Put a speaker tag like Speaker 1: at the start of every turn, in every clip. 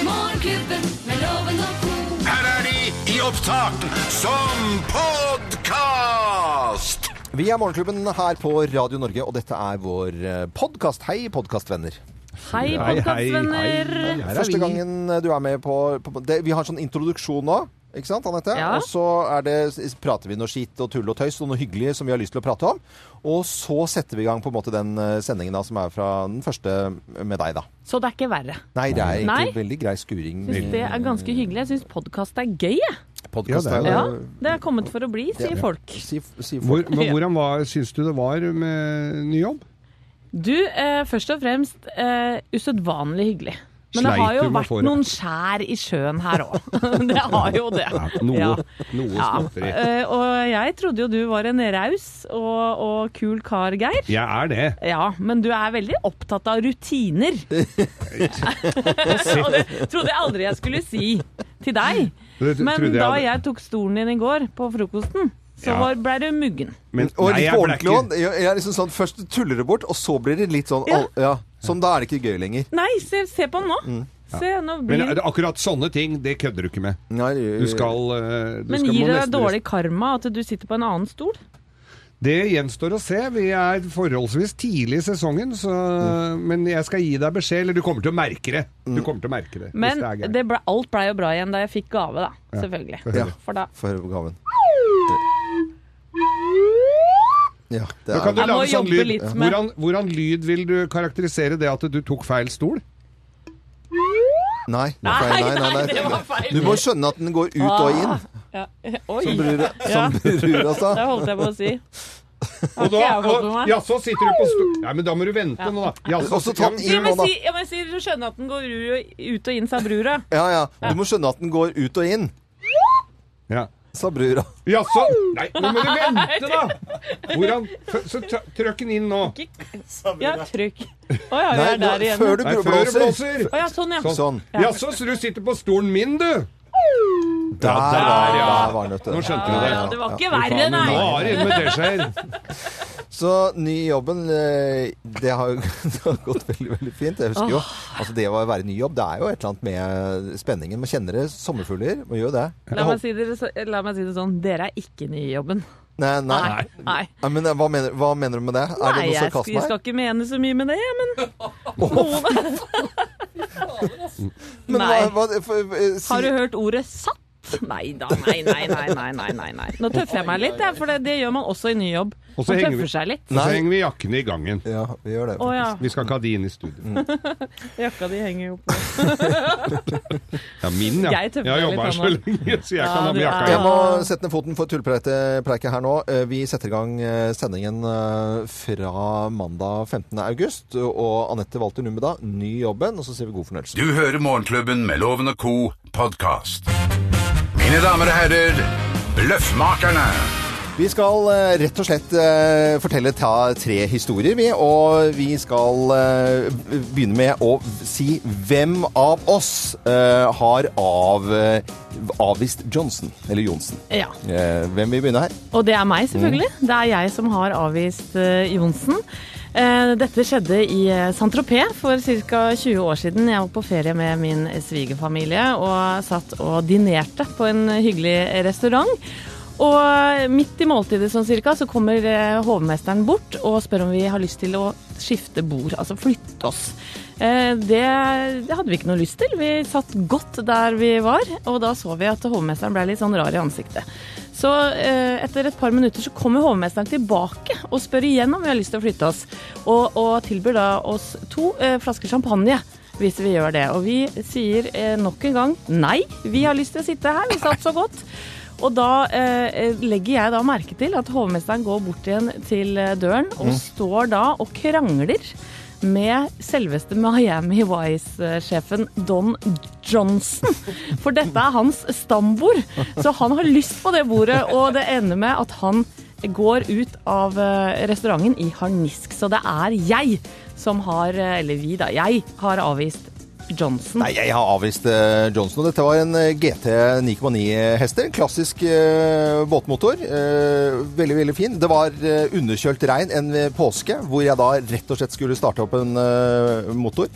Speaker 1: Morgenklubben med loven og ko.
Speaker 2: Her er de i opptak som podkast!
Speaker 3: Vi er Morgenklubben her på Radio Norge, og dette er vår podkast. Hei, podkastvenner.
Speaker 4: Hei,
Speaker 5: Hei, hei,
Speaker 4: podkastvenner!
Speaker 5: Her er
Speaker 3: Første
Speaker 5: vi.
Speaker 3: gangen eh, du er med på, på det, Vi har en sånn introduksjon nå. Ikke sant, Anette?
Speaker 4: Ja.
Speaker 3: Og så er det, s- prater vi noe skitt og tull og tøys og noe hyggelig som vi har lyst til å prate om. Og så setter vi i gang på en måte den eh, sendingen da, som er fra den første med deg, da.
Speaker 4: Så det er ikke verre.
Speaker 3: Nei, det er
Speaker 4: Nei.
Speaker 3: egentlig veldig grei skuring.
Speaker 4: Syns det er ganske hyggelig. Jeg syns podkast er gøy, jeg.
Speaker 3: Podcast
Speaker 5: Ja,
Speaker 3: er
Speaker 5: det
Speaker 3: jo
Speaker 4: Ja, det er kommet for å bli, sier folk.
Speaker 3: Si, si
Speaker 5: Hvor,
Speaker 3: folk.
Speaker 5: men hvordan var, syns du det var med ny jobb?
Speaker 4: Du, eh, først og fremst eh, usedvanlig hyggelig. Men det
Speaker 5: Sleit
Speaker 4: har
Speaker 5: du
Speaker 4: jo
Speaker 5: med å
Speaker 4: vært
Speaker 5: få det?
Speaker 4: noen skjær i sjøen her òg. Det har jo det.
Speaker 5: Noe,
Speaker 4: Ja.
Speaker 5: noe
Speaker 4: Ja,
Speaker 5: småtteri.
Speaker 4: eh, og jeg trodde jo du var en raus og, og kul kar, Geir.
Speaker 5: Jeg er det.
Speaker 4: Ja, men du er veldig opptatt av rutiner. og det trodde jeg aldri jeg skulle si til deg.
Speaker 5: Det tro-
Speaker 4: Men
Speaker 5: trodde
Speaker 4: da
Speaker 5: hadde-
Speaker 4: jeg tok stolen din i går på frokosten, så
Speaker 5: Ja.
Speaker 4: var- ble du muggen.
Speaker 5: Men-
Speaker 3: Og
Speaker 5: nei,
Speaker 3: litt
Speaker 5: jeg
Speaker 3: på
Speaker 5: ble
Speaker 3: ordentlig
Speaker 5: ikke-
Speaker 3: også. Jeg- jeg er liksom sånn, Først tuller det bort, og så blir det litt sånn
Speaker 4: Ja.
Speaker 3: al- ja. Sånn, da er det ikke gøy lenger.
Speaker 4: Nei, se, se på den nå. Se, nå
Speaker 5: Men
Speaker 4: blir...
Speaker 5: er det akkurat sånne ting, det kødder du ikke med.
Speaker 3: Nei,
Speaker 5: Du skal eh, du
Speaker 4: Men
Speaker 5: skal må
Speaker 4: gir det
Speaker 5: nesten-
Speaker 4: deg dårlig karma at du sitter på en annen stol?
Speaker 5: Det gjenstår å se. Vi er forholdsvis tidlig i sesongen, så, men jeg skal gi deg beskjed. Eller du kommer til å merke det. Du kommer til å merke det. hvis
Speaker 4: Men
Speaker 5: det er gærent.
Speaker 4: det ble, alt blei jo bra igjen da jeg fikk gave, da. Selvfølgelig.
Speaker 3: Ja.
Speaker 4: For da
Speaker 3: Få høre på gaven. Ja, det
Speaker 5: Da kan du
Speaker 3: er
Speaker 4: Jeg må
Speaker 5: lage sånn
Speaker 4: jobbe
Speaker 5: lyd.
Speaker 4: litt med-
Speaker 5: Hvordan, hvordan lyd vil du karakterisere det at du tok feil stol?
Speaker 3: Nei, nei,
Speaker 4: Nei,
Speaker 3: nei, nei,
Speaker 4: nei,
Speaker 3: nei.
Speaker 4: det var feil.
Speaker 3: Du må skjønne at den går ut og inn,
Speaker 4: ja. Oi!
Speaker 3: som brura,
Speaker 4: Ja.
Speaker 3: som brura altså. sa.
Speaker 4: Det holdt jeg på å si.
Speaker 5: Og da,
Speaker 4: jeg har fått
Speaker 5: og,
Speaker 4: med meg.
Speaker 5: ja, så sitter du på stol... Nei, men da må du vente
Speaker 4: Ja.
Speaker 5: nå, da. Ja, så,
Speaker 3: Og så ta den
Speaker 4: Ja,
Speaker 3: inn nå,
Speaker 4: men
Speaker 3: da.
Speaker 4: si, ja, men si du skjønner at den går ru- ut og inn, sa brura.
Speaker 3: Ja, ja. Du må skjønne at den går ut og inn,
Speaker 5: ja.
Speaker 3: sa brura.
Speaker 5: Jaså? Nei, nå må du vente, da! Hvordan f- Så tr- trykk den inn nå.
Speaker 4: Ja, trykk. Å ja, vi
Speaker 3: Nei,
Speaker 4: er der
Speaker 3: nå-
Speaker 4: igjen.
Speaker 3: før du
Speaker 5: Nei, før du
Speaker 3: blåser.
Speaker 5: blåser.
Speaker 4: Å ja, sånn, ja.
Speaker 3: Sånn.
Speaker 5: Jaså, så du sitter på stolen min, du?
Speaker 3: Der var, der var nøttet.
Speaker 5: Nå skjønte du
Speaker 4: Ja,
Speaker 5: det.
Speaker 4: ja, det var ikke
Speaker 5: Faen,
Speaker 4: verre,
Speaker 5: men
Speaker 4: nei.
Speaker 5: Nå har det med det skjer.
Speaker 3: Så ny i jobben, eh, det har jo det har gått veldig, veldig fint. Jeg husker jo, altså Det å være ny i jobb, det er jo et eller annet med spenningen. Man kjenner det. Sommerfugler, man gjør jo det.
Speaker 4: La meg, si det, så- la meg si det sånn, dere er ikke nye i jobben.
Speaker 3: Nei, nei.
Speaker 4: Nei. Nei.
Speaker 3: Nei, Men eh, hva mener, hva mener du med det? Er det
Speaker 4: Nei,
Speaker 3: noe
Speaker 4: jeg skal,
Speaker 3: sarkasme
Speaker 4: jeg
Speaker 3: her?
Speaker 4: skal ikke mene så mye med det, men
Speaker 3: Men
Speaker 4: Nei.
Speaker 3: hva, hva, for, eh, si,
Speaker 4: Har du hørt ordet satt? Nei da, nei, nei, nei, nei, nei, nei, nei. Nå tøffer jeg meg litt, jeg, for det, det gjør man også i ny jobb.
Speaker 5: Og så
Speaker 4: Man
Speaker 5: henger vi-
Speaker 4: tøffer seg litt.
Speaker 5: Og så
Speaker 3: Nei.
Speaker 5: henger vi jakkene i gangen.
Speaker 3: Ja, vi gjør det.
Speaker 4: Å ja,
Speaker 5: Vi skal ikke ha de inn i
Speaker 3: Mm.
Speaker 5: studio.
Speaker 4: jakka di henger jo opp.
Speaker 5: Ja, min, ja.
Speaker 4: Jeg tømmer
Speaker 5: Jeg har
Speaker 4: litt
Speaker 5: jobba her så
Speaker 4: gammel.
Speaker 5: lenge, så jeg
Speaker 4: Ja,
Speaker 5: kan ha
Speaker 4: du
Speaker 5: med
Speaker 4: er-
Speaker 5: jakka
Speaker 3: Jeg må sette ned foten for tullpreiket preiket her nå. Eh, Vi setter i gang eh, sendingen eh, fra mandag 15. august. Og Anette Walter Numbeda, ny i jobben. Og så sier vi god fornøyelse.
Speaker 2: Du hører Morgenklubben med Loven og Co. podkast. Mine damer og herrer, Bløffmakerne.
Speaker 3: Vi skal eh, rett og slett eh, fortelle ta tre historier, vi. Og vi skal eh, begynne med å si hvem av oss eh, har av, eh, avvist Johnson. Eller Johnsen.
Speaker 4: Ja.
Speaker 3: Eh, Hvem vil begynne her?
Speaker 4: Og det er meg, selvfølgelig. Det er jeg som har avvist eh, Johnsen. Eh, dette skjedde i eh, Saint-Tropez for ca. 20 år siden. Jeg var på ferie med min svigerfamilie og satt og dinerte på en hyggelig restaurant. Og midt i måltidet sånn cirka, så kommer eh, hovmesteren bort og spør om vi har lyst til å skifte bord, altså flytte oss. Eh, Det, det hadde vi ikke noe lyst til. Vi satt godt der vi var, og da så vi at hovmesteren ble litt sånn rar i ansiktet. Så eh, etter et par minutter så kommer hovmesteren tilbake og spør igjen om vi har lyst til å flytte oss, og, og tilbyr da oss to eh, flasker champagne. Hvis vi gjør det. Og vi sier eh, nok en gang nei, vi har lyst til å sitte her, vi satt så godt. Og da eh, legger jeg da merke til at hovmesteren går bort igjen til eh, døren og står da og krangler med selveste Miami Vice-sjefen Don Johnson. For dette er hans stambord, så han har lyst på det bordet. Og det ender med at han går ut av eh, restauranten i harnisk. Så det er jeg som har, eh, eller vi da, jeg har avvist Johnson.
Speaker 3: Nei, jeg har avvist eh, Johnson, og dette var en eh, GT 9,9 hester. Klassisk eh, båtmotor. Eh, veldig, veldig fin. Det var eh, underkjølt regn en eh, påske, hvor jeg da rett og slett skulle starte opp en eh, motor.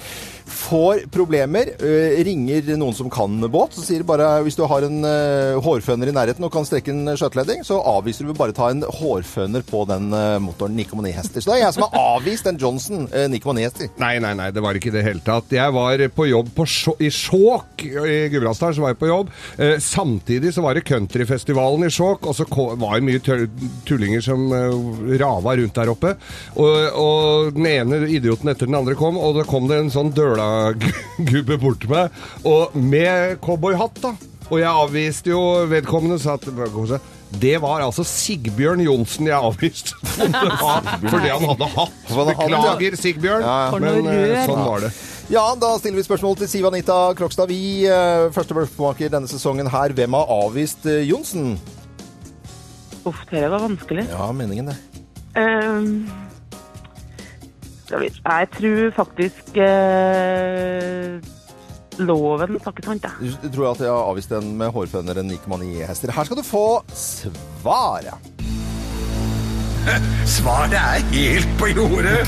Speaker 3: Får problemer, øh, ringer noen som kan båt, så sier de bare hvis du har en øh, hårføner i nærheten og kan strekke en skjøteledning, så avviser du å bare ta en hårføner på den øh, motoren 9,9 hester. Så det er jeg som har avvist den Johnson øh, 9,9 hester.
Speaker 5: Nei, nei, nei, det var ikke i det hele tatt. Jeg var på jobb på Sjå- i Skjåk i Gudbrandsdalen. så var jeg på jobb. Eh, samtidig så var det countryfestivalen i Skjåk, og så ko- var det mye tø- tullinger som eh, rava rundt der oppe. Og, og den ene idioten etter den andre kom, og da kom det en sånn dølagubbe bort til meg, og med cowboyhatt, da. Og jeg avviste jo vedkommende, sa at bare kom seg. det var altså Sigbjørn Johnsen jeg avviste. Fordi han hadde hatt.
Speaker 3: han hadde hatt, ja.
Speaker 5: Beklager, Sigbjørn.
Speaker 4: For noe
Speaker 5: Men eh,
Speaker 4: rør.
Speaker 5: sånn var det.
Speaker 3: Ja, da stiller vi spørsmål til Siv Anita Krokstad. Vi, øh, første bløffmaker denne sesongen her, hvem har avvist øh, Johnsen?
Speaker 6: Uff, det var vanskelig.
Speaker 3: Ja, meningen det.
Speaker 6: Ehm, skal vi, jeg tror faktisk eh, loven snakker sant, jeg.
Speaker 3: Du tror at jeg har avvist den med hårføneren 9,9 hester. Her skal du få svaret.
Speaker 2: Svaret er helt på jordet!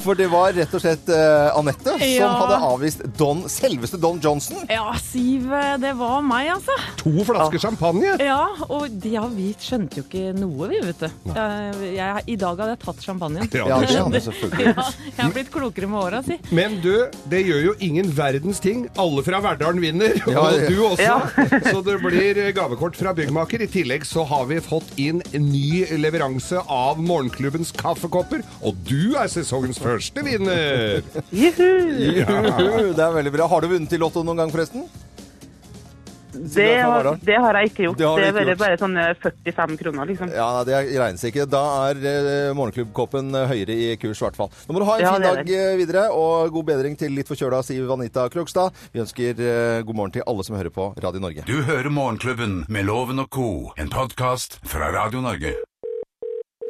Speaker 3: For det var rett og slett eh, Anette som
Speaker 4: Ja.
Speaker 3: hadde avvist Don, selveste Don Johnson.
Speaker 4: Ja, Siv, eh, det var meg, altså.
Speaker 5: To flasker champagne!
Speaker 4: Ja, og de, ja, vi skjønte jo ikke noe, vi, vet du. Jeg, jeg, I dag hadde jeg tatt champagnen.
Speaker 5: Ja, det
Speaker 3: Ja, det
Speaker 5: skjønner.
Speaker 3: skjønner jeg selvfølgelig.
Speaker 4: Ja, jeg har blitt klokere med åra, si.
Speaker 5: Men du, det gjør jo ingen verdens ting. Alle fra Verdalen vinner,
Speaker 3: Ja,
Speaker 5: og
Speaker 3: ja.
Speaker 5: du også. så det blir eh, gavekort fra byggmaker. I tillegg så har vi fått inn en ny leveranse av morgenklubbens kaffekopper, og du er sesongens første vinner!
Speaker 6: Juhu!
Speaker 3: Det er veldig bra. Har du vunnet i Lotto noen gang, forresten?
Speaker 6: Det, har- det har jeg ikke gjort.
Speaker 3: Det
Speaker 6: Det
Speaker 3: har du
Speaker 6: har
Speaker 3: ikke
Speaker 6: vært
Speaker 3: gjort.
Speaker 6: bare sånne 45 kroner, liksom.
Speaker 3: Ja, nei, det regnes ikke. Da er eh, morgenklubbkoppen eh, høyere i kurs, i hvert fall. Nå må du ha en
Speaker 6: Ja,
Speaker 3: fin
Speaker 6: det er
Speaker 3: dag
Speaker 6: det.
Speaker 3: eh, videre, og god bedring til litt forkjøla Siv Anita Krogstad. Vi ønsker eh, god morgen til alle som hører på Radio Norge.
Speaker 2: Du hører Morgenklubben med Loven og co., en podkast fra Radio Norge.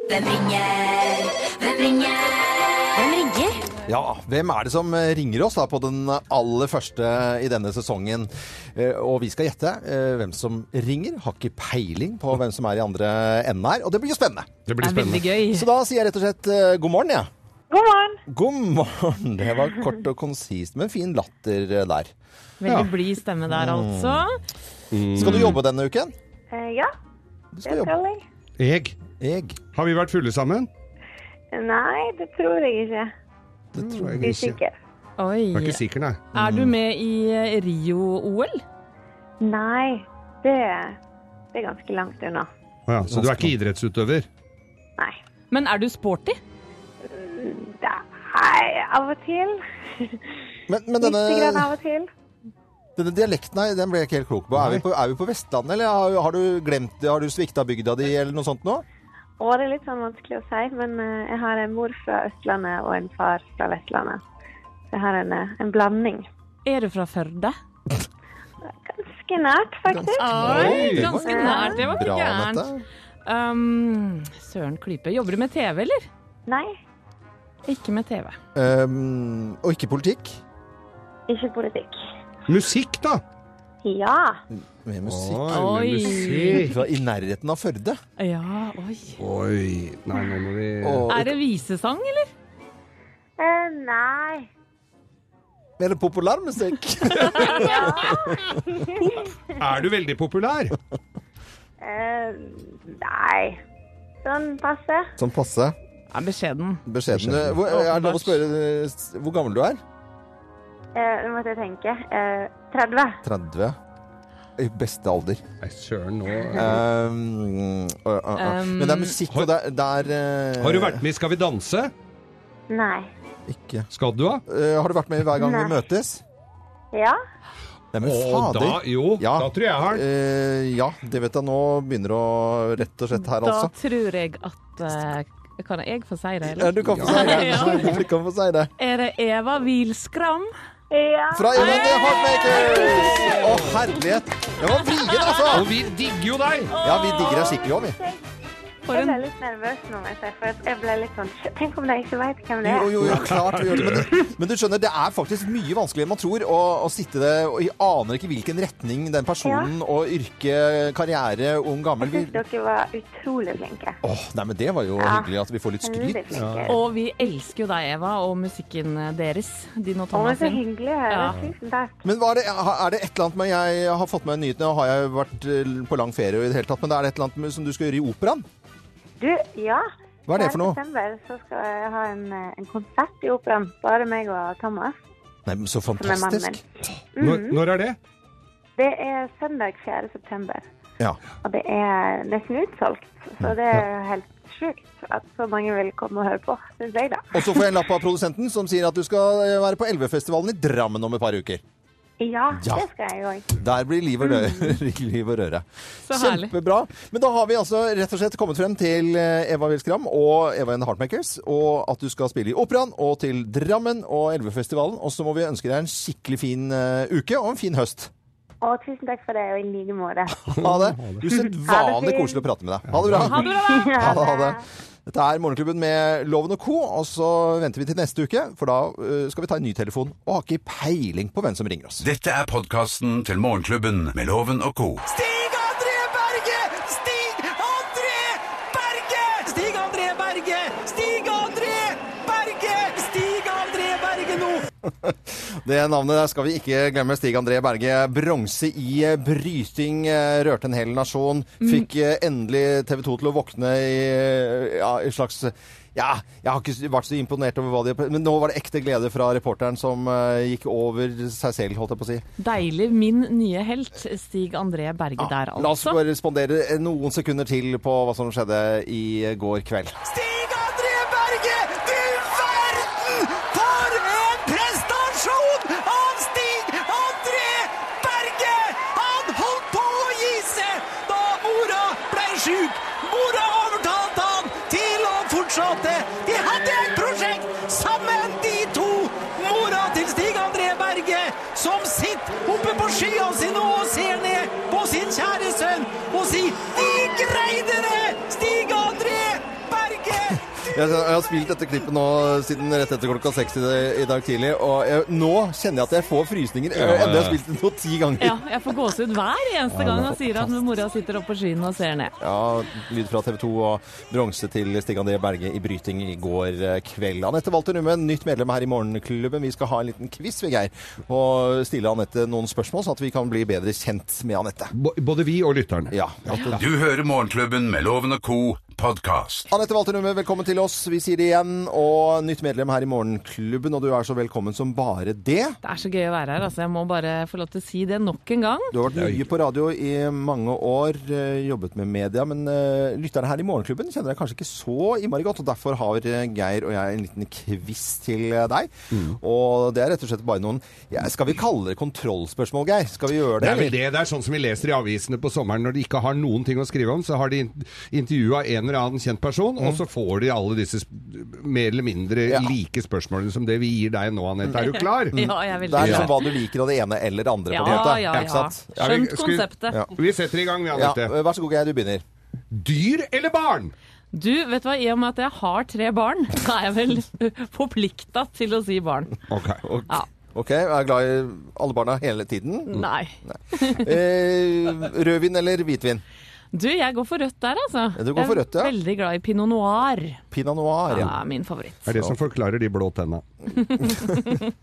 Speaker 1: Hvem ringer? Hvem ringer? Hvem ringer?
Speaker 3: Ja, hvem er det som eh, ringer oss da på den aller første i denne sesongen? Eh, Og vi skal gjette eh, hvem som ringer. Har ikke peiling på hvem som er i andre enden her, og det blir jo spennende.
Speaker 5: Det
Speaker 4: Det
Speaker 5: blir
Speaker 4: er veldig
Speaker 5: spennende.
Speaker 4: gøy.
Speaker 3: Så da sier jeg rett og slett eh, god morgen, jeg. Ja.
Speaker 6: God morgen!
Speaker 3: God morgen. Det var kort og konsist, men fin latter eh, der.
Speaker 4: Veldig blid stemme der, altså.
Speaker 3: Skal du jobbe denne uken?
Speaker 7: Eh,
Speaker 6: ja,
Speaker 3: Du skal jobbe.
Speaker 6: jeg.
Speaker 5: Jeg,
Speaker 3: Jeg.
Speaker 5: har vi vært fulle sammen?
Speaker 6: Nei, det tror jeg ikke.
Speaker 5: Det tror jeg ikke. Jeg er
Speaker 4: Oi.
Speaker 5: ikke sikker, nei.
Speaker 4: Er du med i eh, Rio-OL?
Speaker 7: Nei, det, det er ganske langt unna.
Speaker 5: Å ja, så du er ikke idrettsutøver?
Speaker 7: Nei.
Speaker 4: Men er du sporty?
Speaker 7: Det er av og til.
Speaker 3: Men, men
Speaker 7: Litt grann
Speaker 3: denne,
Speaker 7: av og til.
Speaker 3: denne dialekten her, den ble jeg ikke helt klok på. Er vi på, er vi på Vestlandet, eller har, har du glemt det? Har du svikta bygda di, eller noe sånt nå?
Speaker 7: Og det er litt sånn vanskelig å si, men eh, jeg har en mor fra Østlandet og en far fra Vestlandet. Så jeg har en, eh, en blanding.
Speaker 4: Er du fra Førde?
Speaker 7: Ganske nært, faktisk.
Speaker 4: Oi,
Speaker 5: det var-
Speaker 4: ganske nært. Det var ikke
Speaker 3: Bra,
Speaker 4: gærent.
Speaker 3: Anette.
Speaker 4: Um, Søren Klype, jobber du med TV, eller?
Speaker 7: Nei,
Speaker 4: Ikke med TV.
Speaker 3: Um, og ikke politikk.
Speaker 7: ikke politikk.
Speaker 5: Musikk, da!
Speaker 7: Ja.
Speaker 3: Med musikk.
Speaker 5: Oi,
Speaker 4: Oi.
Speaker 5: musikk.
Speaker 3: Fra I nærheten av Førde.
Speaker 4: Ja, oi.
Speaker 5: Oi. Nei, nå må vi
Speaker 3: Og,
Speaker 4: Er det visesang, eller?
Speaker 7: Eh, nei.
Speaker 3: eller populærmusikk.
Speaker 5: Er du veldig populær?
Speaker 7: Eh, nei. Sånn passe.
Speaker 3: Sånn passe.
Speaker 4: Er beskjeden.
Speaker 3: Beskjeden. Hvor, er det lov å spørre eh, hvor gammel du er?
Speaker 7: Eh, nå måtte jeg tenke. Eh, 30.
Speaker 3: 30. I beste alder.
Speaker 5: Nei, søren, nå
Speaker 3: Um, uh, uh, uh. Men det er musikk, og det er, det er eh,
Speaker 5: Har du vært med i Skal vi danse?
Speaker 7: Nei.
Speaker 3: Ikke.
Speaker 5: Skal du, da?
Speaker 3: Eh, har du vært med hver gang vi
Speaker 7: Nei.
Speaker 3: møtes?
Speaker 7: Ja.
Speaker 3: Nei, men
Speaker 5: Å,
Speaker 3: fader.
Speaker 5: da, jo,
Speaker 3: Ja.
Speaker 5: da tror jeg jeg har den.
Speaker 3: Eh, ja, det vet jeg nå begynner å rett og slett her,
Speaker 4: Da
Speaker 3: altså.
Speaker 4: tror jeg at eh, Kan jeg få si det,
Speaker 3: Ja,
Speaker 4: eller?
Speaker 3: Du kan få si det.
Speaker 4: Ja.
Speaker 3: Du kan få si det.
Speaker 4: Er det Eva Wilskram?
Speaker 7: Ja.
Speaker 3: Fra United Heartmakers! Å, herlighet! Det var vrien, altså!
Speaker 5: Og vi digger jo deg!
Speaker 3: Ja, vi digger deg skikkelig òg, vi.
Speaker 4: For
Speaker 7: Jeg ble
Speaker 4: en
Speaker 7: litt nervøs nå, må jeg si, for at jeg ble litt sånn «Shit, Tenk om jeg ikke vet hvem det
Speaker 3: Jo,
Speaker 7: er?
Speaker 3: jo, jo, klart vi gjør det. Men du, men du skjønner, det er faktisk mye vanskeligere enn man tror å, å sitte det og jeg aner ikke hvilken retning den personen og yrke, karriere, ung, gammel
Speaker 7: Jeg
Speaker 3: vil.
Speaker 7: syns dere var utrolig flinke.
Speaker 3: Åh, nei, men det var jo
Speaker 7: Ja.
Speaker 3: hyggelig at vi får litt
Speaker 7: Veldig
Speaker 3: skryt.
Speaker 7: flinke.
Speaker 4: Og vi elsker jo deg, Eva, og musikken eh, deres. Din og
Speaker 7: Å, men
Speaker 4: Thomas
Speaker 7: så
Speaker 4: sin.
Speaker 7: hyggelig å høre.
Speaker 4: Ja.
Speaker 7: Tusen takk.
Speaker 3: Men var det, er det et eller annet med Jeg har fått med meg nyhetene, og har jeg vært eh, på lang ferie og i det hele tatt, men det er det et eller annet med, som du skal gjøre i operaen?
Speaker 7: Du, ja.
Speaker 3: Hva er det for noe?
Speaker 7: I september så skal jeg ha en, eh, en konsert i operaen. Bare meg og Thomas.
Speaker 3: Nei, men så
Speaker 7: Som er mannen min.
Speaker 3: fantastisk.
Speaker 5: Når, når er det?
Speaker 7: Det er søndag 4. september.
Speaker 3: Ja.
Speaker 7: Og det er nesten utsolgt. Så det er helt sjukt at så mange vil komme og høre på, syns jeg, da.
Speaker 3: Og så får jeg en lapp av produsenten som sier at du skal eh, være på Elvefestivalen i Drammen om et par uker.
Speaker 7: Ja,
Speaker 3: Ja.
Speaker 7: det skal jeg òg.
Speaker 3: Der blir liv og
Speaker 7: Mm.
Speaker 3: røre. liv og røre.
Speaker 4: Så herlig.
Speaker 3: Kjempebra. Men da har vi altså rett og slett kommet frem til eh, Eva Wilskram og Eva and the Heartmakers, og at du skal spille i Operaen og til Drammen og Elvefestivalen. Og så må vi ønske deg en skikkelig fin eh, uke og en fin høst.
Speaker 7: Og tusen takk for det, og i like måte.
Speaker 3: Ha det. Usedvanlig koselig å prate med deg. Ha det bra.
Speaker 4: Ha det bra, da!
Speaker 3: Ha det, ha det. Dette er Morgenklubben med Loven og co., og så venter vi til neste uke, for da eh, skal vi ta en ny telefon og har ikke peiling på hvem som ringer oss.
Speaker 2: Dette er podkasten til Morgenklubben med Loven og co.
Speaker 8: Stig André Berge! Stig André Berge! Stig André Berge! Stig André Berge! Stig André Berge nå!
Speaker 3: Det navnet der skal vi ikke glemme. Stig André Berge. Bronse i øh, bryting. eh, Rørte en hel nasjon.
Speaker 4: Mm.
Speaker 3: Fikk eh, endelig TV 2 til å våkne i eh, ja, en slags ja, jeg har ikke vært så imponert over hva de Men nå var det ekte glede fra reporteren som eh, gikk over seg selv, holdt jeg på å si.
Speaker 4: Deilig. Min nye helt, Stig André Berge der,
Speaker 3: Ah, La oss
Speaker 4: altså.
Speaker 3: bare respondere eh, noen sekunder til på hva som skjedde i går kveld.
Speaker 8: Stig André Berge! Du verden! For en prestasjon av Stig André Berge! Han holdt på å gi seg da mora ble sjuk. Mora overtalte han til å fortsette. De hadde et prosjekt sammen, de to. Mora til Stig André Berge, som sitter oppe på skya sine og ser ned på sin kjære sønn og sier 'Vi greide det, Stig André Berge'. Du
Speaker 3: Jeg, jeg har spilt dette klippet nå siden rett etter klokka seks i, i dag tidlig, og jeg, nå kjenner jeg at jeg får frysninger. Jeg, enda jeg har spilt det nå ti ganger.
Speaker 4: Ja, jeg får gåsehud hver eneste gang han sier at mora sitter oppe på skyen og ser ned.
Speaker 3: Ja, Lyd fra TV 2 og bronse til Stig-André Berge i bryting i går eh, kveld. Anette Walter Nummen, nytt medlem her i Morgenklubben. Vi skal ha en liten quiz, vi, Geir, og stille Anette noen spørsmål, sånn at vi kan bli bedre kjent med Anette.
Speaker 5: Bo- Både vi og lytterne.
Speaker 3: Ja, at
Speaker 2: Du hører Morgenklubben med Loven og co. podkast.
Speaker 3: Anette Walter Numme, velkommen til oss. Vi sier det igjen. Og nytt medlem her i Morgenklubben, og du er så velkommen som bare det.
Speaker 4: Det er så gøy å være her, altså. Jeg må bare få lov til å si det nok en gang.
Speaker 3: Du har vært mye på radio i mange år, eh, jobbet med media, men eh, lytterne her i Morgenklubben kjenner deg kanskje ikke så innmari godt, og derfor har eh, Geir og jeg en liten quiz til eh, deg.
Speaker 5: Mm.
Speaker 3: Og det er rett og slett bare noen ja, Skal vi kalle det kontrollspørsmål, Geir? Skal vi gjøre
Speaker 5: Det
Speaker 3: det?
Speaker 5: er, vel det, det er sånn som vi leser i avisene på sommeren når de ikke har noen ting å skrive om. Så har de intervjua en eller annen kjent person, og så får de alle disse sp- mer eller mindre
Speaker 3: Ja.
Speaker 5: like spørsmålene som det vi gir deg nå, Anette. Er du klar?
Speaker 4: Ja, jeg er
Speaker 3: Det
Speaker 4: veldig
Speaker 3: er liksom
Speaker 4: glad.
Speaker 3: hva du liker av det ene eller det andre,
Speaker 4: Ja,
Speaker 3: på en måte.
Speaker 4: ja,
Speaker 3: Ikke
Speaker 4: ja.
Speaker 5: Er
Speaker 3: sant?
Speaker 5: vi-
Speaker 4: Skjønt
Speaker 5: skal vi-
Speaker 4: konseptet.
Speaker 3: Ja.
Speaker 5: Vi setter i gang, vi,
Speaker 3: Ja,
Speaker 5: Anette.
Speaker 3: vær så god, Geir, du begynner.
Speaker 5: Dyr eller barn?
Speaker 4: Du, vet du hva, i og med at jeg har tre barn, så er jeg vel forplikta til å si barn.
Speaker 5: Ok.
Speaker 4: Ja.
Speaker 3: OK, jeg er glad i alle barna hele tiden.
Speaker 4: Nei.
Speaker 3: Eh, rødvin eller hvitvin?
Speaker 4: Du, jeg går for rødt der, altså.
Speaker 3: Ja, du går for rødt, ja.
Speaker 4: Jeg er veldig glad i pinot noir.
Speaker 3: Pinot noir.
Speaker 4: Ja,
Speaker 3: Ja.
Speaker 4: min favoritt.
Speaker 5: Er det som forklarer de blå tenna.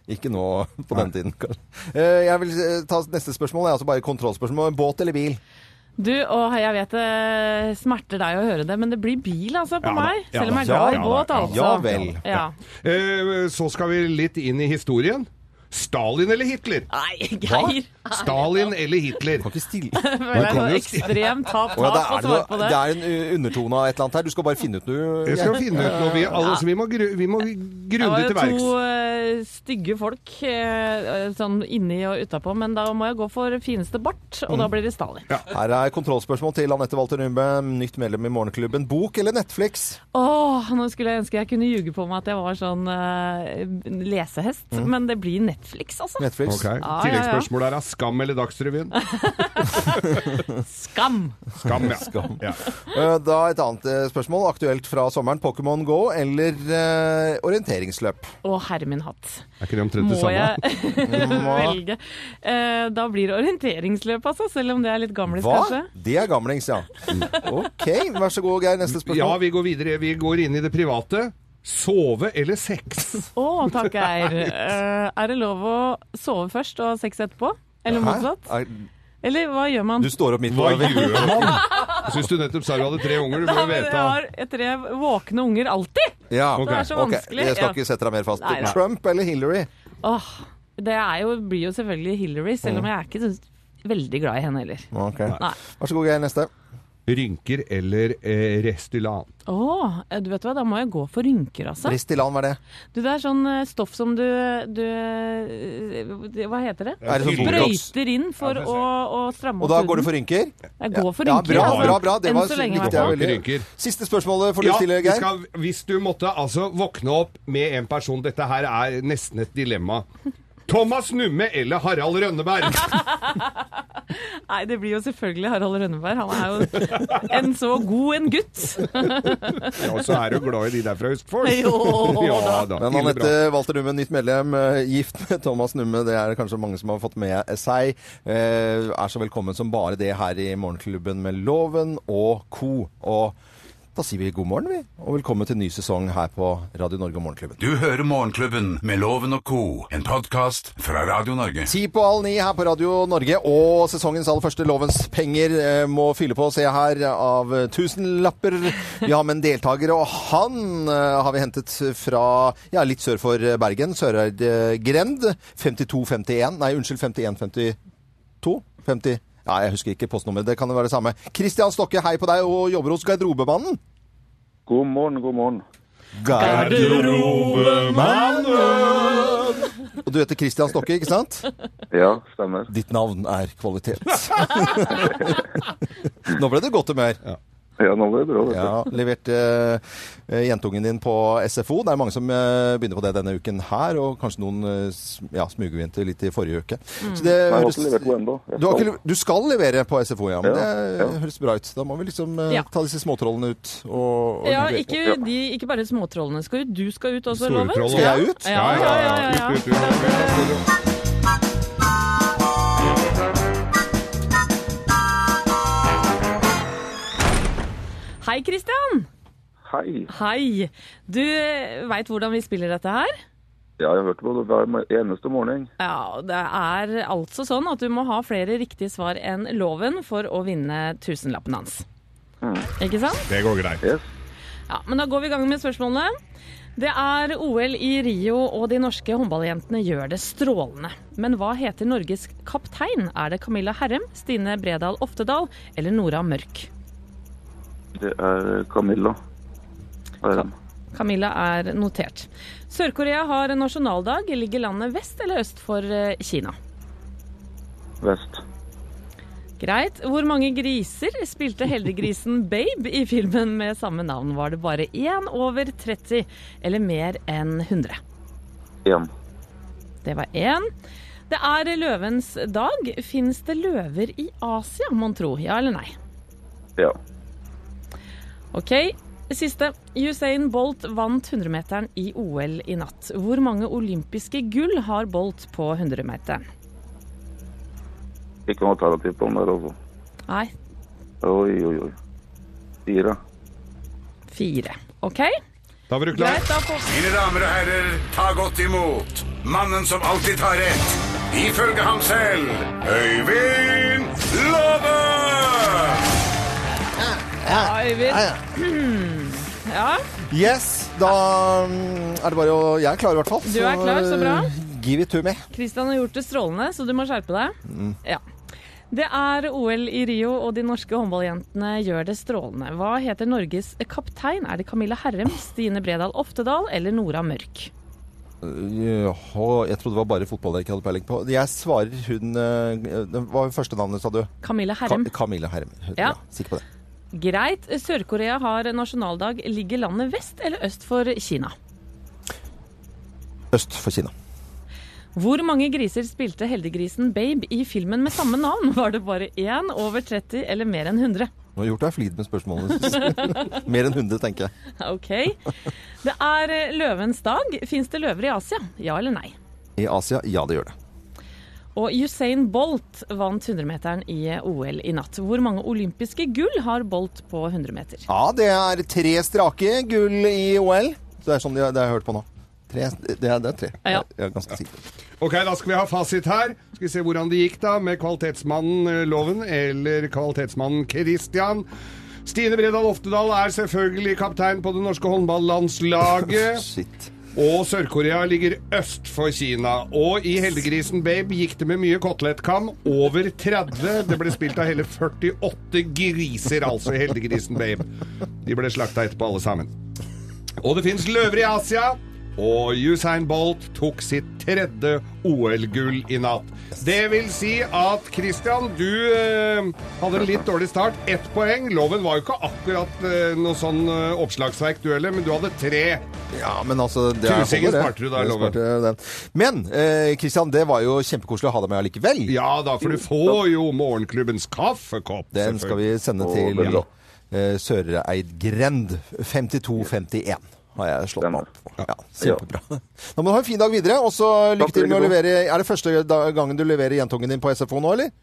Speaker 3: Ikke nå på den tiden, kanskje. Eh, jeg vil eh, ta neste spørsmål. Det er altså bare kontrollspørsmål. Båt eller bil?
Speaker 4: Du, og jeg vet det smerter deg å høre det, men det blir bil altså på
Speaker 5: Ja da,
Speaker 4: meg.
Speaker 5: ja
Speaker 4: Selv
Speaker 5: da,
Speaker 4: om jeg
Speaker 5: ja
Speaker 4: er glad i
Speaker 5: da,
Speaker 4: båt,
Speaker 5: ja
Speaker 4: altså.
Speaker 5: da.
Speaker 3: Ja vel.
Speaker 4: Ja.
Speaker 5: Eh, så skal vi litt inn i historien. Stalin eller Hitler?
Speaker 4: Nei, Geir.
Speaker 5: Stalin eller Hitler?
Speaker 3: Kan ikke stille.
Speaker 4: Det
Speaker 5: Men
Speaker 4: er
Speaker 5: kan
Speaker 4: noe
Speaker 5: jo-
Speaker 4: ekstremt tap
Speaker 3: Å ja, det,
Speaker 4: tap å
Speaker 3: er
Speaker 4: svare
Speaker 3: noe,
Speaker 4: på
Speaker 3: det
Speaker 4: det.
Speaker 3: er en u- undertone av et eller annet her. Du skal bare finne ut noe.
Speaker 5: Jeg skal finne ut noe. altså, Vi, alle, så vi må, gru, vi må
Speaker 4: Det
Speaker 5: grundig
Speaker 4: var
Speaker 5: til
Speaker 4: jo
Speaker 5: verks.
Speaker 4: to eh, eh, stygge folk eh, sånn inni og utapå, men da må jeg gå for fineste bart,
Speaker 5: Mm.
Speaker 4: og da blir det Stalin.
Speaker 3: Her er kontrollspørsmål til Anette Walter Numbø, nytt medlem i Morgenklubben. Bok eller Netflix?
Speaker 4: Åh, nå skulle jeg ønske jeg kunne ljuge på meg at jeg var sånn eh, lesehest, men det blir Netflix, altså.
Speaker 3: Mm. Netflix.
Speaker 5: Ok.
Speaker 4: ja, ja.
Speaker 5: Tilleggsspørsmålet her er skam eller Dagsrevyen?
Speaker 4: Skam!
Speaker 5: Skam, ja. ja.
Speaker 3: Eh, Da et annet eh, spørsmål, aktuelt fra sommeren. Pokémon Go eller eh, orienteringsløp?
Speaker 4: Og herre min hatt.
Speaker 5: Er ikke det omtrent det
Speaker 4: Må
Speaker 5: samme?
Speaker 4: jeg velge? Eh, da blir det orienteringsløp, altså, selv om det er litt gamlis, kanskje.
Speaker 3: Hva? Det er gamlings, ja. OK, vær så god, Geir. Neste
Speaker 5: Ja,
Speaker 3: spørsmål.
Speaker 5: vi går videre. Vi går inn i det private. Sove eller sex?
Speaker 4: Å, takk, Geir. Eh, er det lov å sove først og ha sex etterpå? Eller motsatt?
Speaker 3: Er-
Speaker 4: Eller hva gjør man?
Speaker 3: Du står opp midt på
Speaker 5: Hva
Speaker 3: dagen.
Speaker 5: gjør man? Jeg syns du nettopp sa du hadde tre unger. Du
Speaker 4: Ja,
Speaker 5: bør
Speaker 4: men
Speaker 5: vite
Speaker 4: jeg har tre våkne unger alltid!
Speaker 3: Ja,
Speaker 5: Det
Speaker 4: er så
Speaker 3: ok.
Speaker 4: vanskelig,
Speaker 3: Jeg skal
Speaker 4: ja.
Speaker 3: ikke sette deg mer fast.
Speaker 4: Nei, nei.
Speaker 3: Trump eller Hillary?
Speaker 4: Åh, det er jo, blir jo selvfølgelig Hillary, selv om
Speaker 3: Mm.
Speaker 4: jeg er ikke så veldig glad i henne heller.
Speaker 3: Ok.
Speaker 4: Nei.
Speaker 3: Vær så god, Geir. Neste.
Speaker 5: Rynker eller eh, Restylan?
Speaker 4: Å, du vet hva, da må jeg gå for rynker, altså.
Speaker 3: Ristilan, hva er det?
Speaker 4: Du, det er sånn eh, stoff som du, du eh, Hva heter det?
Speaker 3: Er det sånn Botox?
Speaker 4: Brøyter inn for å, å stramme
Speaker 3: Og da går du for rynker?
Speaker 4: Jeg går for
Speaker 3: Ja,
Speaker 4: rynker.
Speaker 3: bra,
Speaker 4: altså.
Speaker 3: bra, bra. Det
Speaker 4: Enn
Speaker 3: var
Speaker 4: så lenge, altså. i
Speaker 3: riktig.
Speaker 4: hvert
Speaker 3: Det
Speaker 4: fall.
Speaker 3: er
Speaker 5: fall.
Speaker 3: veldig...
Speaker 5: Rynker.
Speaker 3: Siste spørsmålet får du
Speaker 5: Ja,
Speaker 3: stille,
Speaker 5: vi
Speaker 3: Geir.
Speaker 5: skal, hvis du måtte altså våkne opp med en person Dette her er nesten et dilemma. Thomas Numme eller Harald Rønneberg?
Speaker 4: Nei, det blir jo selvfølgelig Harald Rønneberg. Han er jo en så god en gutt.
Speaker 5: Ja, og så er du glad i de der fra Østfold.
Speaker 4: Jo,
Speaker 5: ja, da.
Speaker 3: Men
Speaker 5: ille bra.
Speaker 3: Anette Walter Numme, nytt medlem, eh, gift med Thomas Numme, det er det kanskje mange som har fått med seg. Eh, Er så velkommen som bare det her i Morgenklubben med Loven og co. Og da sier vi god morgen, vi. Og velkommen til ny sesong her på Radio Norge og Morgenklubben.
Speaker 2: Du hører Morgenklubben med Loven og co., en podkast fra Radio Norge.
Speaker 3: Ti på halv ni her på Radio Norge, og sesongens aller første Lovens penger eh, må fylle på, se her, av eh, tusenlapper. Vi har med en deltaker, og han eh, har vi hentet fra ja, litt sør for eh, Bergen, Søreid eh, Grend. 5251, nei unnskyld, 5152? 50... Nei, jeg husker ikke postnummeret, det kan jo være det samme. Kristian Stokke, hei på deg, og jobber hos Garderobemannen.
Speaker 9: God morgen, god morgen.
Speaker 3: Og du heter Kristian Stokke, ikke sant?
Speaker 9: Ja, stemmer.
Speaker 3: Ditt navn er kvalitet. Nå ble det godt humør.
Speaker 9: Ja, nå ble det bra. Vet du.
Speaker 3: Ja, leverte eh, jentungen din på SFO. Det er mange som eh, begynner på det denne uken her, og kanskje noen eh, sm- ja, smugevinter litt i forrige uke.
Speaker 4: Mm.
Speaker 3: Så det
Speaker 9: Jeg har
Speaker 3: høres-
Speaker 9: ikke levert henne ennå. Jeg
Speaker 3: du, har
Speaker 9: skal-
Speaker 3: ikke, le- du skal levere på SFO, ja. Men
Speaker 9: Ja,
Speaker 3: det eh,
Speaker 9: ja.
Speaker 3: høres bra ut. Da må vi liksom eh,
Speaker 4: Ja.
Speaker 3: ta disse småtrollene ut. Og, og
Speaker 4: Ja,
Speaker 3: levere.
Speaker 4: ikke, de, ikke bare småtrollene skal ut. Du skal ut også,
Speaker 5: Store
Speaker 4: Loven.
Speaker 5: troll.
Speaker 3: Skal jeg ut?
Speaker 4: Ja, ja, ja. ja,
Speaker 5: Ut, ut, ut, ut, ut.
Speaker 4: Hei, Kristian.
Speaker 9: Hei.
Speaker 4: Hei. Du veit hvordan vi spiller dette her?
Speaker 9: Ja, jeg hørte på det hver eneste morgen.
Speaker 4: Ja, det er altså sånn at du må ha flere riktige svar enn loven for å vinne tusenlappen hans. Ikke sant?
Speaker 5: Det går greit.
Speaker 9: Yes.
Speaker 4: Ja, men da går vi i gang med spørsmålene. Det er OL i Rio, og de norske håndballjentene gjør det strålende. Men hva heter Norges kaptein? Er det Camilla Herrem, Stine Bredal Oftedal eller Nora Mørk?
Speaker 9: Det er eh, Camilla. Det er dem.
Speaker 4: Camilla er notert. Sør-Korea har nasjonaldag. Ligger landet vest eller øst for eh, Kina?
Speaker 9: Vest.
Speaker 4: Greit. Hvor mange griser spilte heldiggrisen Babe i filmen med samme navn? Var det bare én over 30, eller mer enn 100?
Speaker 9: Én.
Speaker 4: Det var én. Det er løvens dag. Fins det løver i Asia, mon tro? Ja eller nei?
Speaker 9: Ja.
Speaker 4: OK. Siste. Usain Bolt vant 100-meteren i OL i natt. Hvor mange olympiske gull har Bolt på 100-meteren?
Speaker 9: Ikke noe alternativ på den der, altså.
Speaker 4: Nei,
Speaker 9: Oi, oi, oi. Fire.
Speaker 4: fire. OK?
Speaker 5: Da var du klar.
Speaker 4: Greit, da får
Speaker 2: Mine damer og herrer, ta godt imot mannen som alltid tar rett, ifølge ham selv, Øyvind Låve!
Speaker 4: Øyvind. Ja,
Speaker 3: Yes, da mm, er det bare å Jeg er klar, i hvert fall.
Speaker 4: Du er klar, så bra.
Speaker 3: eh, Give it to me.
Speaker 4: Kristian har gjort det strålende, så du må skjerpe deg. Ja. Det er OL i Rio, og de norske håndballjentene gjør det strålende. Hva heter Norges kaptein? Er det Camilla Herrem, Stine Bredal Oftedal eller Nora Mørk?
Speaker 3: Jaha, jeg trodde det var bare fotball jeg ikke hadde peiling på. Jeg svarer hun eh, Det var første navnet, sa du?
Speaker 4: Camilla Herrem.
Speaker 3: Ka Camilla Herrem.
Speaker 4: Ja.
Speaker 3: Ja. Sikker på det.
Speaker 4: Greit. Sør-Korea har nasjonaldag. Ligger landet vest eller øst for Kina?
Speaker 3: Øst for Kina.
Speaker 4: Hvor mange griser spilte heldiggrisen Babe i filmen med samme navn? Var det bare én, over 30 eller mer enn 100?
Speaker 3: Nå har jeg gjort deg flid med spørsmålene. Mer enn 100, tenker jeg.
Speaker 4: Ok. Det er eh, løvens dag. Fins det løver i Asia? Ja eller nei?
Speaker 3: I Asia, ja, det gjør det.
Speaker 4: Og Usain Bolt vant 100-meteren i OL i natt. Hvor mange olympiske gull har Bolt på 100 meter?
Speaker 3: Ja, det er tre strake gull i OL. Så det er sånn de, det har jeg hørt på nå. Tre, det, er, det er tre.
Speaker 4: Ja.
Speaker 3: Jeg er ganske sikker.
Speaker 5: Ok, da skal vi ha fasit her. Skal vi se hvordan det gikk da med Kvalitetsmannen eh, Loven eller Kvalitetsmannen Christian. Stine Bredal Oftedal er selvfølgelig kaptein på det norske håndballandslaget.
Speaker 3: Shit.
Speaker 5: Og Sør-Korea ligger øst for Kina. Og i Heldiggrisen Babe gikk det med mye kotelettkam. Over 30. Det ble spilt av hele 48 griser, altså, i Heldiggrisen Babe. De ble slakta etterpå, alle sammen. Og det fins løver i Asia. Og Usain Bolt tok sitt tredje OL-gull i natt. Det vil si at Christian, du eh, hadde en litt dårlig start. Ett poeng. Loven var jo ikke akkurat eh, noe sånn eh, oppslagsverk, du heller, men du hadde tre.
Speaker 3: Ja, men altså det er-
Speaker 5: Tusingen
Speaker 3: holder det.
Speaker 5: sparte du da,
Speaker 3: Det
Speaker 5: Loven.
Speaker 3: sparte den. Men eh, Christian, det var jo kjempekoselig å ha deg med allikevel.
Speaker 5: Ja da, for du får jo morgenklubbens kaffekopp.
Speaker 3: Den skal vi sende
Speaker 9: Å,
Speaker 3: til
Speaker 9: veldig bra.
Speaker 3: eh, Søreidgrend. 5251 har jeg slått meg opp på. Ja, kjempebra. Da må du ha en fin dag videre, og så lykke
Speaker 9: Takk,
Speaker 3: til med å
Speaker 9: like
Speaker 3: levere Er det første da- gangen du leverer jentungen din på SFO nå, eller?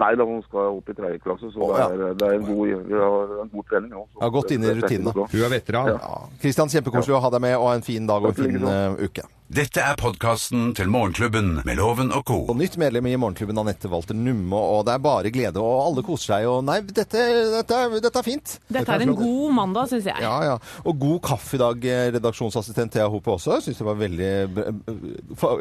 Speaker 9: Nei, da hun skal opp i tredje klasse, så
Speaker 3: Å,
Speaker 9: det
Speaker 3: ja.
Speaker 9: er, det er en, god, vi har en god trening. nå, så
Speaker 3: Ja, godt inn i
Speaker 9: det- det er
Speaker 3: rutinene.
Speaker 9: bra.
Speaker 5: Hun er veteran.
Speaker 3: Kristian, kjempekoselig å ha deg med, og ha en fin dag og en
Speaker 9: Takk, like
Speaker 3: fin eh, uke.
Speaker 2: Dette er podkasten til Morgenklubben med Loven og co.
Speaker 3: Og nytt medlem i Morgenklubben, Anette Walter Numme, og det er bare glede, og alle koser seg, og nei, dette, dette, er- dette er fint.
Speaker 4: Dette er en god mandag, syns jeg.
Speaker 3: Ja, ja. Og god kaffe i dag, eh, redaksjonsassistent Thea Hope også. Syns det var veldig eh, fa-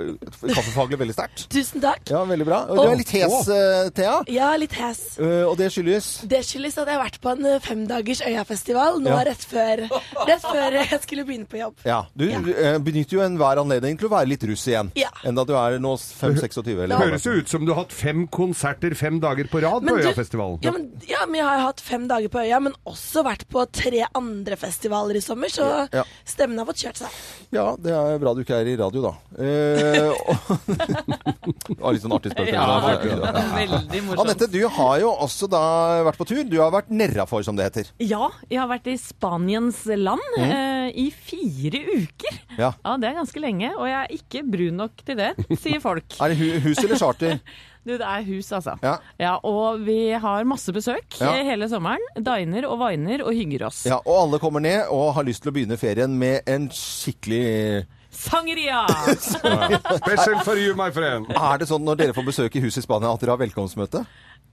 Speaker 3: Kaffefaglig veldig sterkt.
Speaker 10: Tusen takk.
Speaker 3: Ja, veldig bra. Og du er litt hes, eh, Thea.
Speaker 10: Ja, litt hes.
Speaker 3: Eh, Og det skyldes
Speaker 10: Det skyldes at jeg har vært på en eh, femdagers Øyafestival nå
Speaker 3: Ja.
Speaker 10: rett, før, rett før jeg skulle begynne på jobb.
Speaker 3: ja, Du eh, benytter jo enhver anledning til å være litt russ iggen.
Speaker 10: Ja.
Speaker 3: Enda du er nå 5-26. eller
Speaker 5: Det
Speaker 3: hva
Speaker 5: høres jo ut som du har hatt fem konserter fem dager på rad på
Speaker 10: Men du-
Speaker 5: Øyafestivalen.
Speaker 10: Ja, men, ja, men jeg har jo hatt fem dager på øya, men også vært på tre andre festivaler i sommer, så
Speaker 3: Ja.
Speaker 10: stemmen har fått kjørt seg.
Speaker 3: Ja, det er bra du ikke er i radio, da. Eh, og... det var litt sånn artig spørsmål.
Speaker 4: Ja,
Speaker 3: det var-
Speaker 4: Veldig morsomt.
Speaker 3: Anette, du har jo også da vært på tur. Du har vært nerrafor, som det heter.
Speaker 4: Ja, jeg har vært i Spaniens land eh, i fire uker.
Speaker 3: Mm. Ja.
Speaker 4: det er ganske lenge, og jeg er ikke brun nok til det, sier folk.
Speaker 3: Er det hu hus eller charter?
Speaker 4: Du, det er hus, altså.
Speaker 3: Ja.
Speaker 4: Og vi har masse besøk
Speaker 3: Ja.
Speaker 4: eh, hele sommeren. Diner og viner og hygger oss.
Speaker 3: Ja, og alle kommer ned og har lyst til å begynne ferien med en skikkelig
Speaker 4: Sangeria!
Speaker 5: Special for you, my friend.
Speaker 3: Er det sånn når dere får besøk i huset i Spania at dere har velkomstmøte?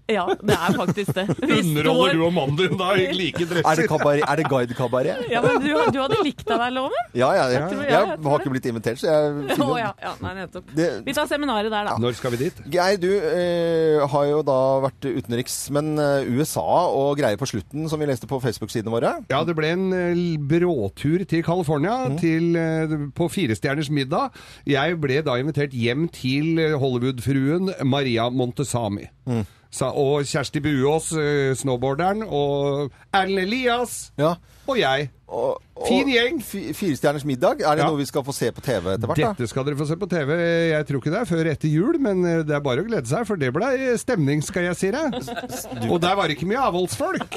Speaker 4: Ja, det er faktisk det. Vi
Speaker 5: Underholder
Speaker 4: står-
Speaker 5: du og mannen din da i like
Speaker 3: Er det,
Speaker 5: dresser?
Speaker 3: kabaret- er det guide-kabaret?
Speaker 4: Ja, men du, du hadde likt deg der, Loven?
Speaker 3: Ja, ja, jeg,
Speaker 4: tror- ja, jeg
Speaker 3: jeg
Speaker 4: tror
Speaker 3: har
Speaker 4: det.
Speaker 3: ikke blitt invitert, så jeg
Speaker 4: Å
Speaker 3: finner
Speaker 4: ja. ja. Nei, nettopp.
Speaker 3: Det-
Speaker 4: Vi tar seminaret der, da.
Speaker 5: Når skal vi dit?
Speaker 3: Geir, du eh, har jo da vært utenriks, men eh, USA og greier på slutten, som vi leste på Facebook-sidene våre.
Speaker 5: Ja, det ble en eh, l- bråtur til California
Speaker 3: Mhm.
Speaker 5: til, eh, på Firestjerners middag. Jeg ble da invitert hjem til eh, Hollywood-fruen Maria Montesami.
Speaker 3: Mm.
Speaker 5: Sa, og Kjersti Buås, eh, snowboarderen, og Erlend Elias
Speaker 3: Ja.
Speaker 5: og jeg.
Speaker 3: Og, og,
Speaker 5: Fin gjeng.
Speaker 3: fi- Firestjerners middag, er det
Speaker 5: Ja.
Speaker 3: noe vi skal få se på TV etter hvert? da?
Speaker 5: Dette skal dere få se på TV. Jeg tror ikke det er før etter jul, men eh, det er bare å glede seg, for det ble stemning, skal jeg si deg. Og der var det ikke mye avholdsfolk.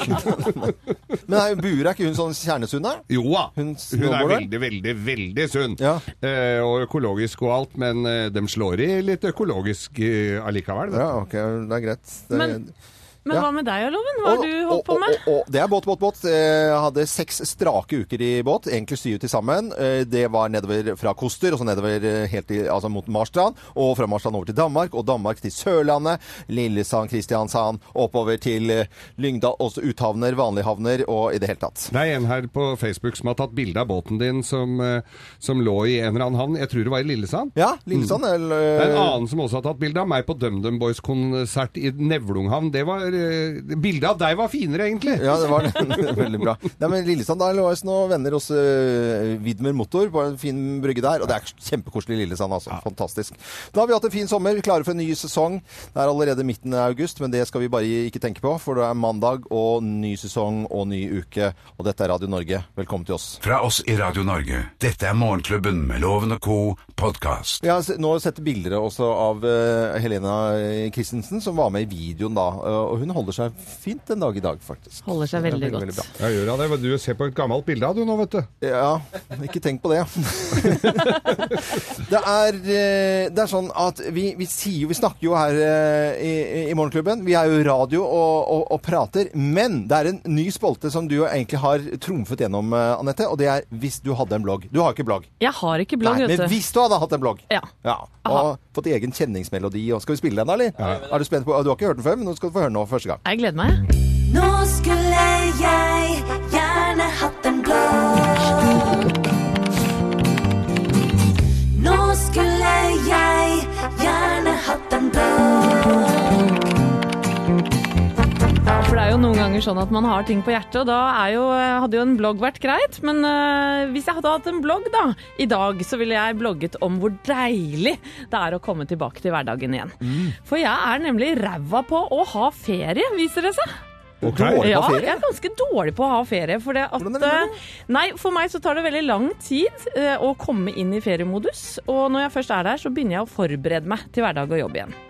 Speaker 3: Men er, Bure, er ikke hun sånn kjernesund, da?
Speaker 5: Jo da.
Speaker 3: Hun
Speaker 5: Hun, er
Speaker 3: snowboarder?
Speaker 5: veldig, veldig, veldig sunn.
Speaker 3: Ja.
Speaker 5: Eh, og økologisk og alt, men eh, de slår i litt økologisk eh, allikevel. vet
Speaker 3: Ja, ok, det er greit. Det er,
Speaker 4: Men- Men
Speaker 3: Ja.
Speaker 4: hva med deg, Loven? Hva har du holdt på med?
Speaker 3: Og, og, og, det er båt, båt, båt. Eh, Jeg hadde seks strake uker i båt, egentlig syv til sammen. Eh, Det var nedover fra Koster, og så nedover eh, helt til, altså mot Marstrand, og fra Marstrand over til Danmark, og Danmark til Sørlandet, Lillesand, Kristiansand, oppover til eh, Lyngdal, også uthavner, vanlige havner, og i det hele tatt.
Speaker 5: du. Det er en her på Facebook som har tatt bilde av båten din som, eh, som lå i en eller annen havn. Jeg tror det var i Lillesand.
Speaker 3: Ja, Lillesand, eller
Speaker 5: Det er en
Speaker 3: eh,
Speaker 5: annen som også har tatt bilde av meg på DumDum Boys-konsert i Nevlunghavn. Det var eh, Bildet av deg var finere, egentlig.
Speaker 3: Ja, det var det. Veldig bra. Nei, men Lillesand der lå oss noen venner hos eh, Widmer Motor på en fin brygge der. Og det er kjempekoselig i Lillesand, altså. Fantastisk. Da har vi hatt en fin sommer, klare for en ny sesong. Det er allerede midten av august, men det skal vi bare ikke tenke på, for det er mandag og ny sesong og ny uke. Og dette er Radio Norge. Velkommen til oss.
Speaker 2: Fra oss i Radio Norge, dette er Morgenklubben med Loven og co. podkast.
Speaker 3: Jeg har se- nå sett bilder også av eh, Helena eh, Christensen, som var med i videoen da. eh, og hun holder seg fint den dag i dag, faktisk.
Speaker 4: Holder seg veldig godt.
Speaker 5: Ja, gjør han det? Men Du ser på et gammelt bilde av du nå, vet du.
Speaker 3: Ja, ikke tenk på det. det, er, eh, det er sånn at vi, vi sier jo Vi snakker jo her eh, i, i Morgenklubben. Vi er jo radio og, og, og prater. Men det er en ny spalte som du jo egentlig har trumfet gjennom, eh, Anette. Og det er hvis du hadde en blogg. Du har ikke blogg.
Speaker 4: Jeg har ikke blogg,
Speaker 3: Nei,
Speaker 4: vet
Speaker 3: men
Speaker 4: du.
Speaker 3: hvis du hadde hatt en blogg.
Speaker 4: Ja.
Speaker 3: Ja, og fått egen kjenningsmelodi. Og skal vi spille den, da, eller? Er du spent på Du har ikke hørt den før, men nå skal du få høre den nå første gang.
Speaker 4: Jeg gleder meg.
Speaker 1: Nå skulle jeg gjerne hatt en blogg. Nå skulle jeg gjerne hatt en blogg.
Speaker 4: Ja, for det er jo noen ganger sånn at man har ting på hjertet, og da er jo, eh, hadde jo en blogg vært greit. Men eh, hvis jeg hadde hatt en blogg da, i dag, så ville jeg blogget om hvor deilig det er å komme tilbake til hverdagen igjen.
Speaker 3: Mm.
Speaker 4: For jeg er nemlig ræva på å ha ferie, viser det seg.
Speaker 5: Ok.
Speaker 4: Ja, jeg er ganske dårlig på å ha ferie. For, det at, eh, nei, for meg så tar det veldig lang tid eh, å komme inn i feriemodus. Og når jeg først er der, så begynner jeg å forberede meg til hverdag og jobb igjen.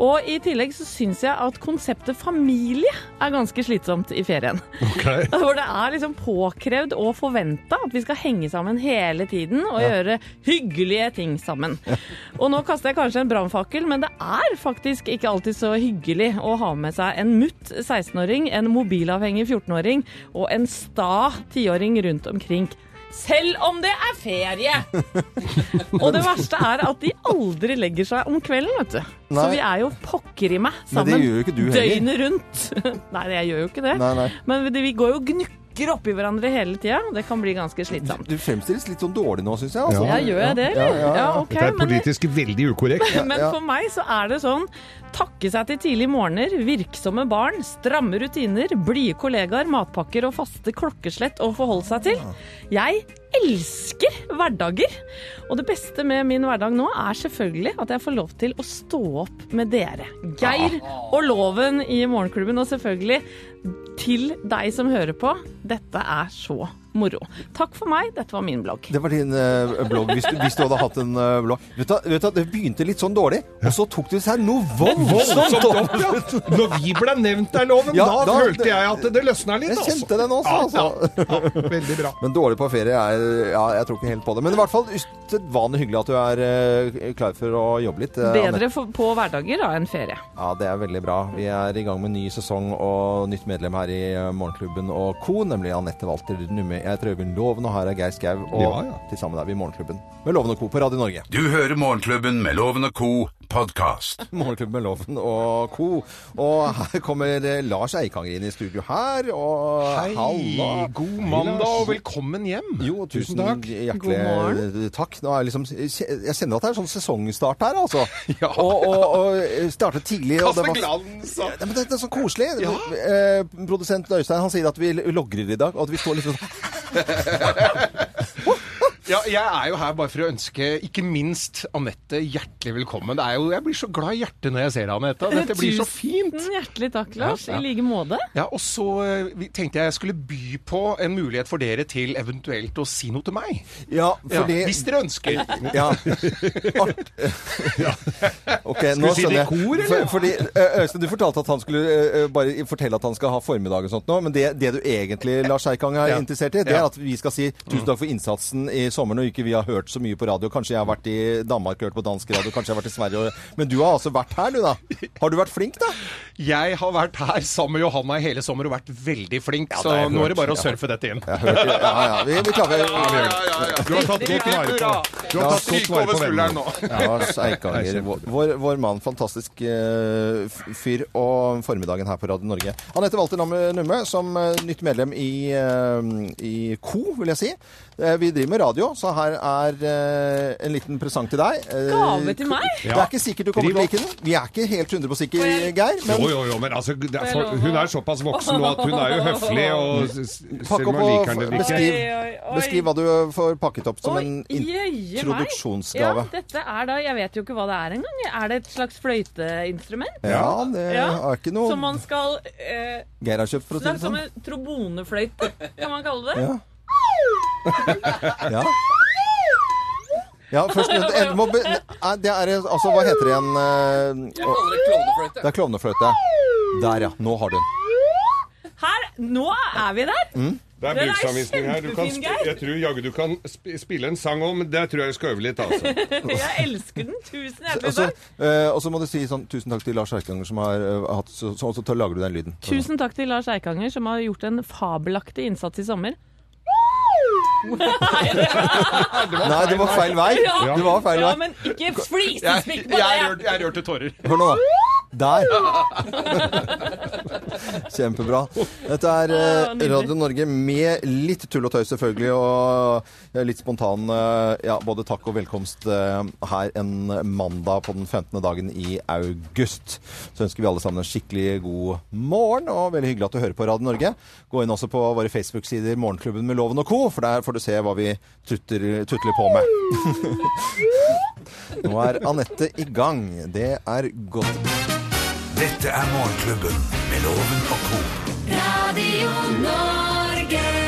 Speaker 4: Og i tillegg så syns jeg at konseptet familie er ganske slitsomt i ferien. For det er liksom påkrevd og forventa at vi skal henge sammen hele tiden og gjøre hyggelige ting sammen. Og nå kaster jeg kanskje en brannfakkel, men det er faktisk ikke alltid så hyggelig å ha med seg en mutt 16-åring, en mobilavhengig 14-åring og en sta 10-åring rundt omkring. Selv om det er ferie! Og det verste er at de aldri legger seg om kvelden, vet du. Så
Speaker 3: Nei.
Speaker 4: vi er jo pokker i meg
Speaker 3: Men
Speaker 4: sammen
Speaker 3: det gjør jo ikke du heller.
Speaker 4: døgnet rundt. nei, jeg gjør jo ikke det.
Speaker 3: Nei, nei.
Speaker 4: Men det- vi går jo og gnukker oppi hverandre hele tida, og det kan bli ganske slitsomt.
Speaker 3: Du fremstilles litt sånn dårlig nå, syns jeg. Altså.
Speaker 4: Ja, gjør jeg det, eller?
Speaker 3: Ja, ja, ja.
Speaker 4: Ja, ok, Dette er men-
Speaker 5: politisk veldig ukorrekt.
Speaker 4: Men for meg så er det sånn takke seg til tidlige morgener, virksomme barn, stramme rutiner, blide kollegaer, matpakker og faste klokkeslett å forholde seg til. Jeg elsker hverdager! Og det beste med min hverdag nå er selvfølgelig at jeg får lov til å stå opp med dere. Geir og Loven i Morgenklubben, og selvfølgelig til deg som hører på. Dette er så moro. Takk for meg, dette var min blogg.
Speaker 3: Det var din eh, blogg, hvis du, hvis du hadde hatt en eh, blogg. Vet du, hva- vet du, hva, det begynte litt sånn dårlig, og så tok det seg noe voldsomt
Speaker 5: Voldsomt
Speaker 3: opp.
Speaker 5: opp, ja. Når vi ble nevnt der, Loven,
Speaker 3: Ja,
Speaker 5: da,
Speaker 3: da-
Speaker 5: følte jeg at det løsna litt.
Speaker 3: Jeg
Speaker 5: altså.
Speaker 3: kjente den også, altså.
Speaker 5: Ja, veldig bra.
Speaker 3: Men dårlig på ferie er Ja, jeg tror ikke helt på det. Men i hvert fall usedvanlig hyggelig at du er eh, klar for å jobbe litt. eh, Anette.
Speaker 4: Bedre for, på hverdager da enn ferie.
Speaker 3: Ja, det er veldig bra. Vi er i gang med ny sesong og nytt medlem her i eh, Morgenklubben og co., nemlig Anette Walter Numme. Jeg heter Øyvind Loven, og her er Geir Skau. Og
Speaker 2: Ja, ja.
Speaker 3: til sammen er vi i Morgenklubben med Loven og co. på Radio Norge.
Speaker 2: Du hører Morgenklubben med Loven og co. podkast.
Speaker 3: Morgenklubben med Loven og co. Og her kommer eh, Lars Eikanger inn i studio her. Og
Speaker 5: Hei,
Speaker 3: halla.
Speaker 5: god mandag og velkommen hjem.
Speaker 3: Jo, tusen,
Speaker 5: Tusen takk.
Speaker 3: hjertelig
Speaker 5: God morgen.
Speaker 3: takk. Nå er liksom, jeg kjenner at det er sånn sesongstart her, altså. og, og, og starte tidlig. og det var-
Speaker 5: glans
Speaker 3: Ja, men det, det er så koselig. Eh, produsent Øystein han sier at vi logrer i dag, og at vi står litt sånn
Speaker 11: Ja, jeg er jo her bare for å ønske ikke minst Anette hjertelig velkommen. Det er jo, jeg blir så glad i hjertet når jeg ser deg, Anette. Dette blir så fint.
Speaker 4: Tusen Mm, hjertelig takk, Lars.
Speaker 11: Ja, ja.
Speaker 4: I like måte.
Speaker 11: Ja, og så eh, vi- tenkte jeg jeg skulle by på en mulighet for dere til eventuelt å si noe til meg.
Speaker 3: Ja, fordi-
Speaker 11: hvis dere ønsker.
Speaker 3: Ja. Ok, nå skjønner jeg. For, fordi, eh, Øystein, du fortalte at han skulle eh, eh, bare fortelle at han skal ha formiddag og sånt nå, men det, det du egentlig, Lars Eikang, er
Speaker 11: Ja.
Speaker 3: interessert i, det
Speaker 11: Ja.
Speaker 3: er at vi skal si tusen takk for innsatsen i sommer når ikke vi har hørt så mye på radio. Kanskje jeg har vært i Danmark og hørt på dansk radio, kanskje jeg har vært i Sverige og Men du har altså vært her, du, da. Har du vært flink, da?
Speaker 11: Jeg har vært her sammen med Johanna i hele sommer og vært veldig flink,
Speaker 3: det har
Speaker 11: så
Speaker 3: jeg
Speaker 11: nå er
Speaker 3: hørt.
Speaker 11: det bare å
Speaker 3: Ja.
Speaker 11: surfe dette inn.
Speaker 3: hørte- ja, ja, vi- vi klarer-
Speaker 5: Du har tatt godt vare på Du har tatt godt vare på vennen din.
Speaker 3: Ja, Lars Eikanger, vår- vår, vår mann, fantastisk eh, f- fyr, og formiddagen her på Radio Norge. Anette Walter Namme Numme, som eh, nytt medlem i, eh, i KO, vil jeg si. Eh, vi driver med radio, også, så her er eh, en liten presang til deg. Eh,
Speaker 4: Gave til meg?
Speaker 3: Det er ikke sikkert du kommer
Speaker 5: Driv
Speaker 3: til å like den. Vi er ikke helt 100 sikre,
Speaker 5: Får jeg-
Speaker 3: Geir. Men
Speaker 5: Jo, jo, jo, men altså, det er, for, hun er såpass voksen nå at hun er jo høflig og s- s-
Speaker 3: Pakk
Speaker 5: selv
Speaker 3: opp
Speaker 5: om hun
Speaker 3: og
Speaker 5: liker den eller
Speaker 3: beskriv,
Speaker 5: ikke.
Speaker 3: beskriv hva du får pakket opp som en
Speaker 4: Jøye meg.
Speaker 3: introduksjonsgave.
Speaker 4: Ja, dette er da, jeg vet jo ikke hva det er engang. Er det et slags fløyteinstrument?
Speaker 3: Ja, det
Speaker 4: Ja.
Speaker 3: er ikke noe
Speaker 4: Som man skal eh,
Speaker 3: Geir har kjøpt, for å si
Speaker 4: Slags
Speaker 3: det
Speaker 4: som
Speaker 3: sånn.
Speaker 4: en trobonefløyte, kan man kalle det.
Speaker 3: Ja. ja. Ja, først men, en, må be, nei, Det er altså Hva heter det igjen? eh, å- Det er klovnefløyte. Der, ja. Nå har du den.
Speaker 4: Her, nå er vi der!
Speaker 3: Mm.
Speaker 5: Det er
Speaker 4: Den er
Speaker 5: bruksanvisning her. Du kan,
Speaker 4: kjempefin,
Speaker 5: sp-
Speaker 4: Geir.
Speaker 5: jeg tror jaggu du kan sp spille en sang om, men det tror jeg jeg skal øve litt, altså.
Speaker 4: jeg elsker den. Tusen hjertelig
Speaker 3: Og så
Speaker 4: takk.
Speaker 3: eh, og så må du si sånn Tusen takk til Lars Erkanger som har eh, hatt så, så, så, så lager du den lyden.
Speaker 4: Tusen takk til Lars Eikanger, som har gjort en fabelaktig innsats i sommer.
Speaker 3: Nei, det var feil vei.
Speaker 4: Ja,
Speaker 3: Det var feil
Speaker 4: ja,
Speaker 3: vei.
Speaker 4: men ikke flisespikk på
Speaker 11: Jeg
Speaker 4: det!
Speaker 11: rørte, jeg rørte tårer.
Speaker 3: Hør nå. Der. Kjempebra. Dette er eh,
Speaker 11: Å, nydelig.
Speaker 3: Radio Norge med litt tull og tøys, selvfølgelig, og eh, litt spontan eh, ja, både takk og velkomst eh, her en mandag på den 15. dagen i august. Så ønsker vi alle sammen en skikkelig god morgen, og veldig hyggelig at du hører på Radio Norge. Gå inn også på våre Facebook-sider Morgenklubben med Loven og co., for der får du se hva vi tutter, tutler på med. Nå er Anette i gang. Det er godt.
Speaker 2: Dette er Morgenklubben med Loven og co.
Speaker 1: Radio Norge.